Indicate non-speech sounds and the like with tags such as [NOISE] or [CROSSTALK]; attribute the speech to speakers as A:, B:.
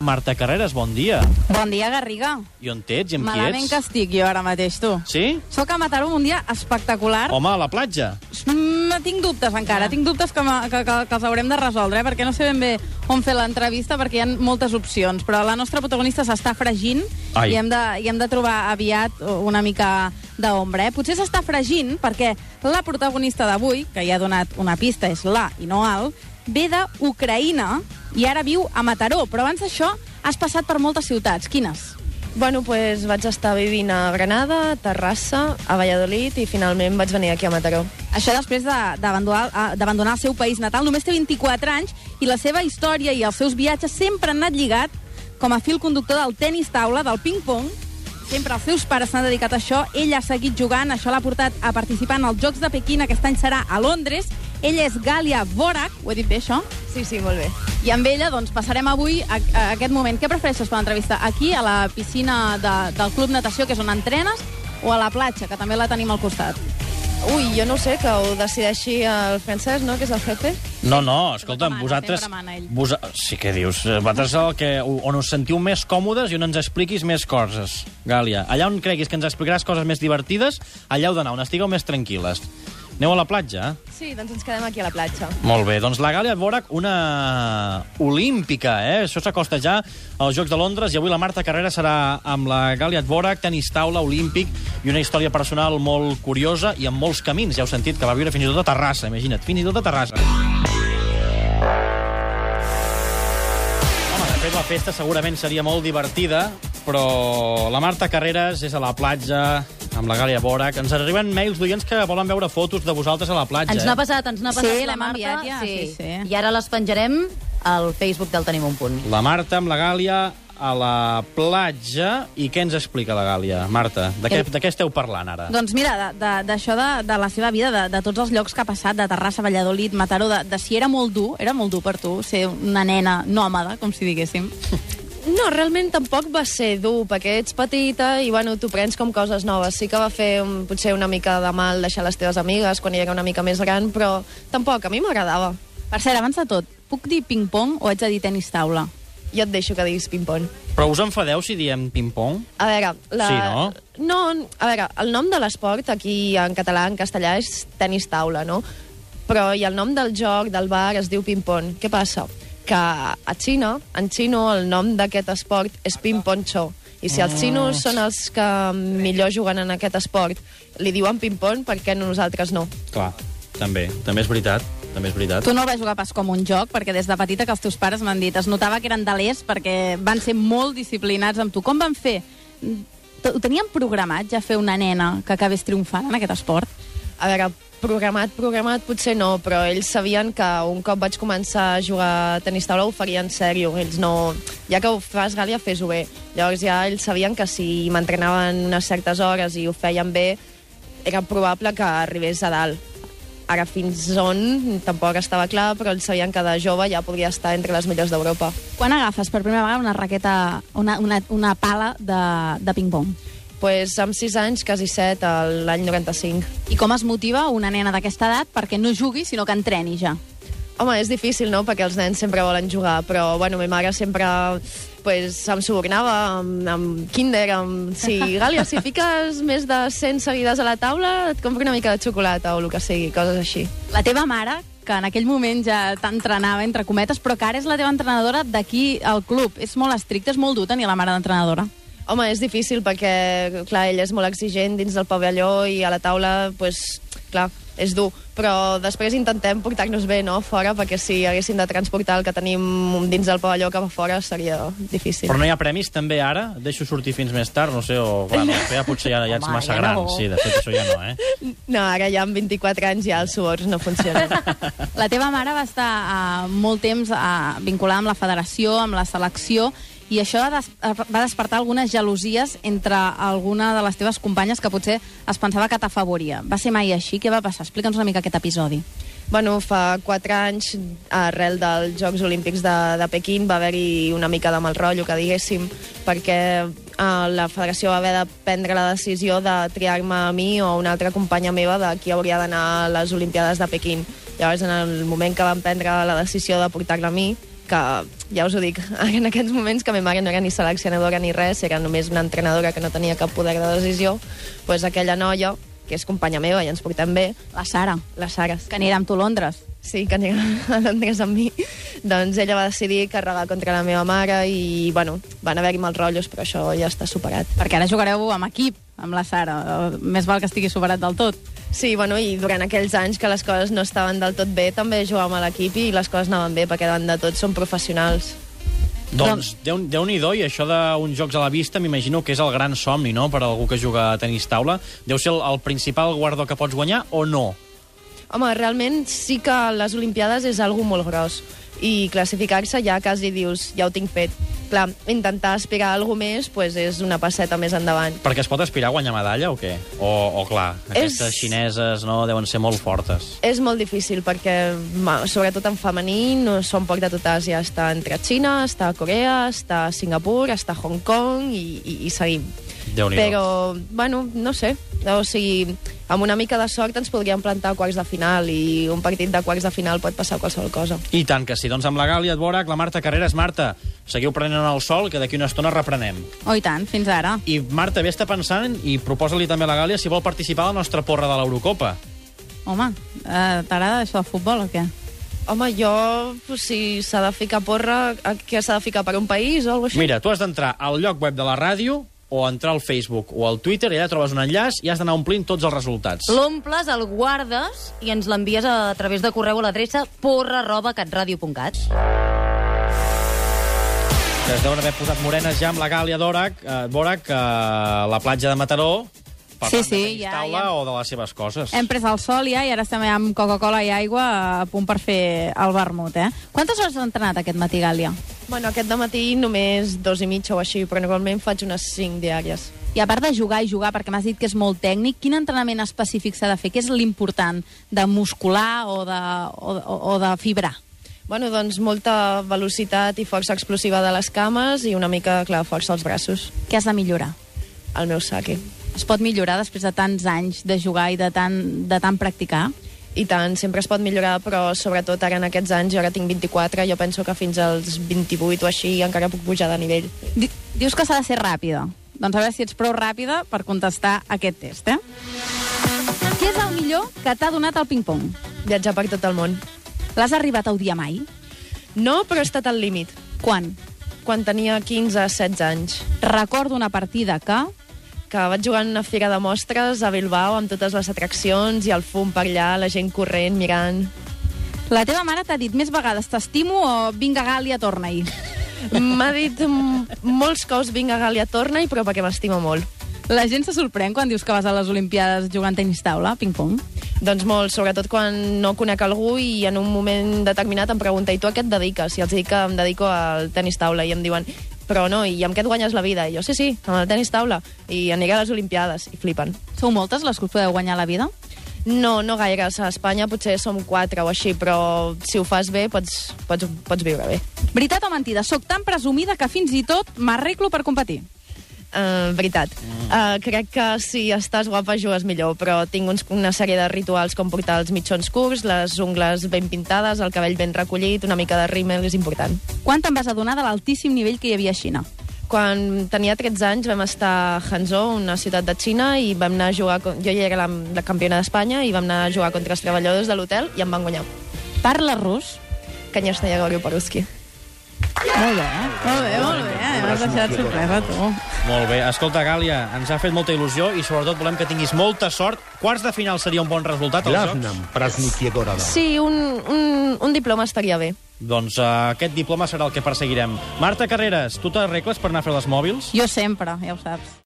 A: Marta Carreras, bon dia.
B: Bon dia, Garriga.
A: I on ets i amb qui
B: Malament
A: ets?
B: que estic jo ara mateix, tu.
A: Sí?
B: Sóc a Mataró un dia espectacular.
A: Home, a la platja.
B: Mm, tinc dubtes encara, tinc dubtes que, me- que, que, que els haurem de resoldre, eh? perquè no sé ben bé on fer l'entrevista, perquè hi ha moltes opcions, però la nostra protagonista s'està fregint
A: Ai.
B: i hem, de, i hem de trobar aviat una mica d'ombra. Eh? Potser s'està fregint perquè la protagonista d'avui, que ja ha donat una pista, és la i no al, ve d'Ucraïna i ara viu a Mataró, però abans d'això has passat per moltes ciutats. Quines?
C: Bueno, pues, vaig estar vivint a Granada, a Terrassa, a Valladolid i finalment vaig venir aquí a Mataró.
B: Això després de- d'abandonar ah, d'abandonar el seu país natal. Només té 24 anys i la seva història i els seus viatges sempre han anat lligat com a fil conductor del tennis taula, del ping-pong. Sempre els seus pares s'han dedicat a això. Ella ha seguit jugant, això l'ha portat a participar en els Jocs de Pequín. Aquest any serà a Londres. Ella és Galia Vorak, ho he dit bé, això?
C: Sí, sí, molt bé.
B: I amb ella doncs, passarem avui a, a aquest moment. Què prefereixes per l'entrevista? Aquí, a la piscina de, del Club Natació, que és on entrenes, o a la platja, que també la tenim al costat?
C: Ui, jo no ho sé, que ho decideixi el francès, no?, que és el jefe.
A: No, no, escolta'm,
B: Sempre mana,
A: vosaltres...
B: sempre mana ell.
A: Vosa... Sí, què dius? Eh, Vosaltres el que, on us sentiu més còmodes i on ens expliquis més coses, Gàlia. Allà on creguis que ens explicaràs coses més divertides, allà heu d'anar, on estigueu més tranquil·les. Aneu a la platja? eh?
C: Sí, doncs ens quedem aquí a la platja.
A: Molt bé, doncs la Gàlia Borac, una olímpica, eh? Això s'acosta ja als Jocs de Londres i avui la Marta Carrera serà amb la Gàlia Borac, tenis taula, olímpic i una història personal molt curiosa i amb molts camins, ja heu sentit, que va viure fins i tot a Terrassa, imagina't, fins i tot a Terrassa. Home, de fet, la festa segurament seria molt divertida, però la Marta Carreras és a la platja, amb la Gàlia Borac. Ens arriben mails d'oients que volen veure fotos de vosaltres a la platja.
D: Ens
A: eh?
D: n'ha passat, ens n'ha
B: Sí,
D: passat la
B: l'hem
D: Marta.
B: enviat ja, sí, sí.
D: I ara les penjarem al Facebook del Tenim un punt.
A: La Marta amb la Gàlia a la platja. I què ens explica la Gàlia? Marta, de
D: Eh.
A: què, de què esteu parlant ara?
B: Doncs mira, de- de- d'això de, de, la seva vida, de, de tots els llocs que ha passat, de Terrassa, Valladolid, Mataró, de, de si era molt dur, era molt dur per tu ser una nena nòmada, com si diguéssim.
C: No, realment tampoc va ser dur, perquè ets petita i, bueno, tu prens com coses noves. Sí que va fer um, potser una mica de mal deixar les teves amigues quan ja era una mica més gran, però tampoc, a mi m'agradava.
B: Per cert, abans de tot, puc dir ping-pong o haig de dir tennis taula?
C: Jo et deixo que diguis ping-pong.
A: Però us enfadeu si diem ping-pong?
C: A veure, la...
A: Sí, no?
C: No, a veure, el nom de l'esport aquí en català, en castellà, és tenis taula, no? Però i el nom del joc, del bar, es diu ping-pong. Què passa? Que a Xina, en xino, el nom d'aquest esport és ping-pong show. I si
A: Ah.
C: els xinos són els que millor juguen en aquest esport, li diuen ping-pong, per què nosaltres no?
A: Clar, també. També és veritat. També és veritat.
B: Tu no vas jugar pas com un joc, perquè des de petita que els teus pares m'han dit, es notava que eren delers perquè van ser molt disciplinats amb tu. Com van fer? T- Ho tenien programat ja fer una nena que acabés triomfant en aquest esport?
C: A veure, programat, programat, potser no, però ells sabien que un cop vaig començar a jugar a tenis taula ho faria en sèrio. Ells no... Ja que ho fas, Gàlia, fes-ho bé. Llavors ja ells sabien que si m'entrenaven unes certes hores i ho feien bé, era probable que arribés a dalt. Ara fins on tampoc estava clar, però ells sabien que de jove ja podria estar entre les millors d'Europa.
B: Quan agafes per primera vegada una raqueta, una, una, una pala de, de ping-pong?
C: pues, amb 6 anys, quasi 7, el- l'any 95.
B: I com es motiva una nena d'aquesta edat perquè no jugui, sinó que entreni ja?
C: Home, és difícil, no?, perquè els nens sempre volen jugar, però, bueno, ma mare sempre pues, em subornava amb, amb kinder, amb... Sí, Gàlia, si fiques més de 100 seguides a la taula, et compro una mica de xocolata o el que sigui, coses així.
B: La teva mare, que en aquell moment ja t'entrenava, entre cometes, però que ara és la teva entrenadora d'aquí al club. És molt estricte, és molt dur tenir la mare d'entrenadora.
C: Home, és difícil perquè, clar, ell és molt exigent dins del pavelló i a la taula, pues, clar, és dur. Però després intentem portar-nos bé, no?, fora, perquè si haguéssim de transportar el que tenim dins del pavelló cap a fora seria difícil.
A: Però no hi ha premis també ara? Deixo sortir fins més tard, no sé, o... Clar, no, ja potser ja, ja ets
D: Home,
A: massa
D: ja
A: gran.
D: no.
A: Sí, de fet, això ja no,
D: [LAUGHS]
A: eh?
C: No, ara ja amb 24 anys ja els suborns no funcionen.
B: La teva mare va estar eh, molt temps eh, vinculada amb la federació, amb la selecció, i això va, des va despertar algunes gelosies entre alguna de les teves companyes que potser es pensava que t'afavoria. Va ser mai així? Què va passar? Explica'ns una mica aquest episodi.
C: Bueno, fa 4 anys, arrel dels Jocs Olímpics de, de Pequín, va haver-hi una mica de mal rotllo, que diguéssim, perquè eh, la federació va haver de prendre la decisió de triar-me a mi o a una altra companya meva de qui hauria d'anar a les Olimpiades de Pequín. Llavors, en el moment que van prendre la decisió de portar-la a mi, que, ja us ho dic, [LAUGHS] en aquests moments que ma mare no era ni seleccionadora ni res, era només una entrenadora que no tenia cap poder de decisió, doncs aquella noia, que és companya meva i ens portem bé,
B: La Sara,
C: la Sara,
B: que anirà amb tu a Londres.
C: sí, que [LAUGHS] anirà a Londres amb mi, doncs ella va decidir carregar contra la meva mare i, bueno, van haver-hi mals rotllos, però això ja està superat.
B: Perquè ara jugareu amb equip, amb la Sara. Eh, Més val que estigui superat del tot.
C: Sí, bueno, i durant aquells anys que les coses no estaven del tot bé, també jugàvem a l'equip i les coses anaven bé, perquè davant de tot són professionals.
A: Doncs, déu déu nhi -do, i això d'uns jocs a la vista, m'imagino que és el gran somni, no?, per a algú que juga a tenis taula. Deu ser el, el principal guardó que pots guanyar o no?
C: Home, realment sí que les Olimpiades és algo molt gros i classificar-se ja quasi dius, ja ho tinc fet. Clar, intentar aspirar a alguna més pues, és una passeta més endavant.
A: Perquè es pot aspirar a guanyar medalla o què? O, o clar, aquestes és... xineses no deuen ser molt fortes.
C: És molt difícil perquè, ma, sobretot en femení, no són poc de tot Àsia. Està entre Xina, està a Corea, està a Singapur, està a Hong Kong i, i, i seguim.
A: déu nhi
C: Però, bueno, no sé. O sigui, amb una mica de sort ens podríem plantar a quarts de final i un partit de quarts de final pot passar qualsevol cosa.
A: I tant que sí. Doncs amb la Gàlia Dvorak, la Marta Carreras. Marta, seguiu prenent el sol, que d'aquí una estona reprenem.
B: Oh, i tant, fins ara.
A: I Marta, ve està pensant i proposa-li també a la Gàlia si vol participar a la nostra porra de l'Eurocopa.
B: Home, eh, t'agrada això de futbol o què?
C: Home, jo, pues, si s'ha de ficar porra, a- què s'ha de ficar per un país o alguna cosa així?
A: Mira, tu has d'entrar al lloc web de la ràdio o entrar al Facebook o al Twitter, i allà trobes un enllaç i has d'anar omplint tots els resultats.
D: L'omples, el guardes i ens l'envies a, a través de correu a l'adreça porra arroba catradio.cat.
A: Que es deuen haver posat morenes ja amb la Gàlia d'Orac, eh, Borac, eh, a la platja de Mataró, parlant
B: Sí, sí,
A: de tenis
B: ja,
A: taula
B: ja.
A: o de les seves coses.
B: Hem pres el sol ja i ara estem amb Coca-Cola i aigua a punt per fer el vermut, eh? Quantes hores has entrenat aquest matí, Gàlia?
C: Bueno, aquest matí només dos i mitja o així, però normalment faig unes cinc diàries.
B: I a part de jugar i jugar, perquè m'has dit que és molt tècnic, quin entrenament específic s'ha de fer? Què és l'important? De muscular o de, o, o, o de fibrar?
C: Bueno, doncs molta velocitat i força explosiva de les cames i una mica, clar, força als braços.
B: Què has de millorar?
C: El meu saque.
B: Es pot millorar després de tants anys de jugar i de tant, de tant practicar?
C: I tant, sempre es pot millorar, però sobretot ara en aquests anys, jo ara tinc 24, jo penso que fins als 28 o així encara puc pujar de nivell.
B: Di dius que s'ha de ser ràpida. Doncs a veure si ets prou ràpida per contestar aquest test, eh? Què és el millor que t'ha donat el ping-pong?
C: Viatjar per tot el món.
B: L'has arribat a odiar mai?
C: No, però he estat al límit.
B: Quan?
C: Quan tenia 15-16 anys.
B: Recordo una partida que...
C: que vaig jugar en una fira de mostres a Bilbao amb totes les atraccions i el fum per allà, la gent corrent, mirant...
B: La teva mare t'ha dit més vegades t'estimo o vinga, Gàlia, torna-hi.
C: M'ha dit mm, molts cops vinga Gàlia, torna-hi, però perquè m'estima molt.
B: La gent se sorprèn quan dius que vas a les Olimpiades jugant tenis taula, ping-pong.
C: Doncs molt, sobretot quan no conec algú i en un moment determinat em pregunta i tu a què et dediques? I els dic que em dedico al tennis taula i em diuen però no, i amb què et guanyes la vida? I jo, sí, sí, amb el tennis taula. I aniré a les Olimpiades. I flipen.
B: Sou moltes les que us podeu guanyar la vida?
C: No, no gaire. A Espanya potser som quatre o així, però si ho fas bé pots, pots, pots viure bé.
B: Veritat o mentida, sóc tan presumida que fins i tot m'arreglo per competir.
C: Uh, veritat. Uh, crec que si estàs guapa jugues millor, però tinc uns, una sèrie de rituals com portar els mitjons curts, les ungles ben pintades, el cabell ben recollit, una mica de rímel és important.
B: Quan te'n vas adonar de l'altíssim nivell que hi havia a Xina?
C: Quan tenia 13 anys vam estar a Hangzhou, una ciutat de Xina, i vam anar a jugar... con- Jo ja era la, la campiona d'Espanya i vam anar a jugar contra els treballadors de l'hotel i em van guanyar.
B: Parla rus?
C: Конечно, я говорю по-русски.
B: Molt bé, eh? Molt bé, molt bé. eh? M'has deixat sorpresa, tu.
A: Molt bé. Escolta, Gàlia, ens ha fet molta il·lusió i sobretot volem que tinguis molta sort. Quarts de final seria un bon resultat als
E: Главным
A: Jocs.
E: празднике города.
C: Sí, un, un, un diploma estaria bé.
A: Doncs uh, aquest diploma serà el que perseguirem. Marta Carreras, tu t'arregles per anar a fer les mòbils?
B: Jo sempre, ja ho saps.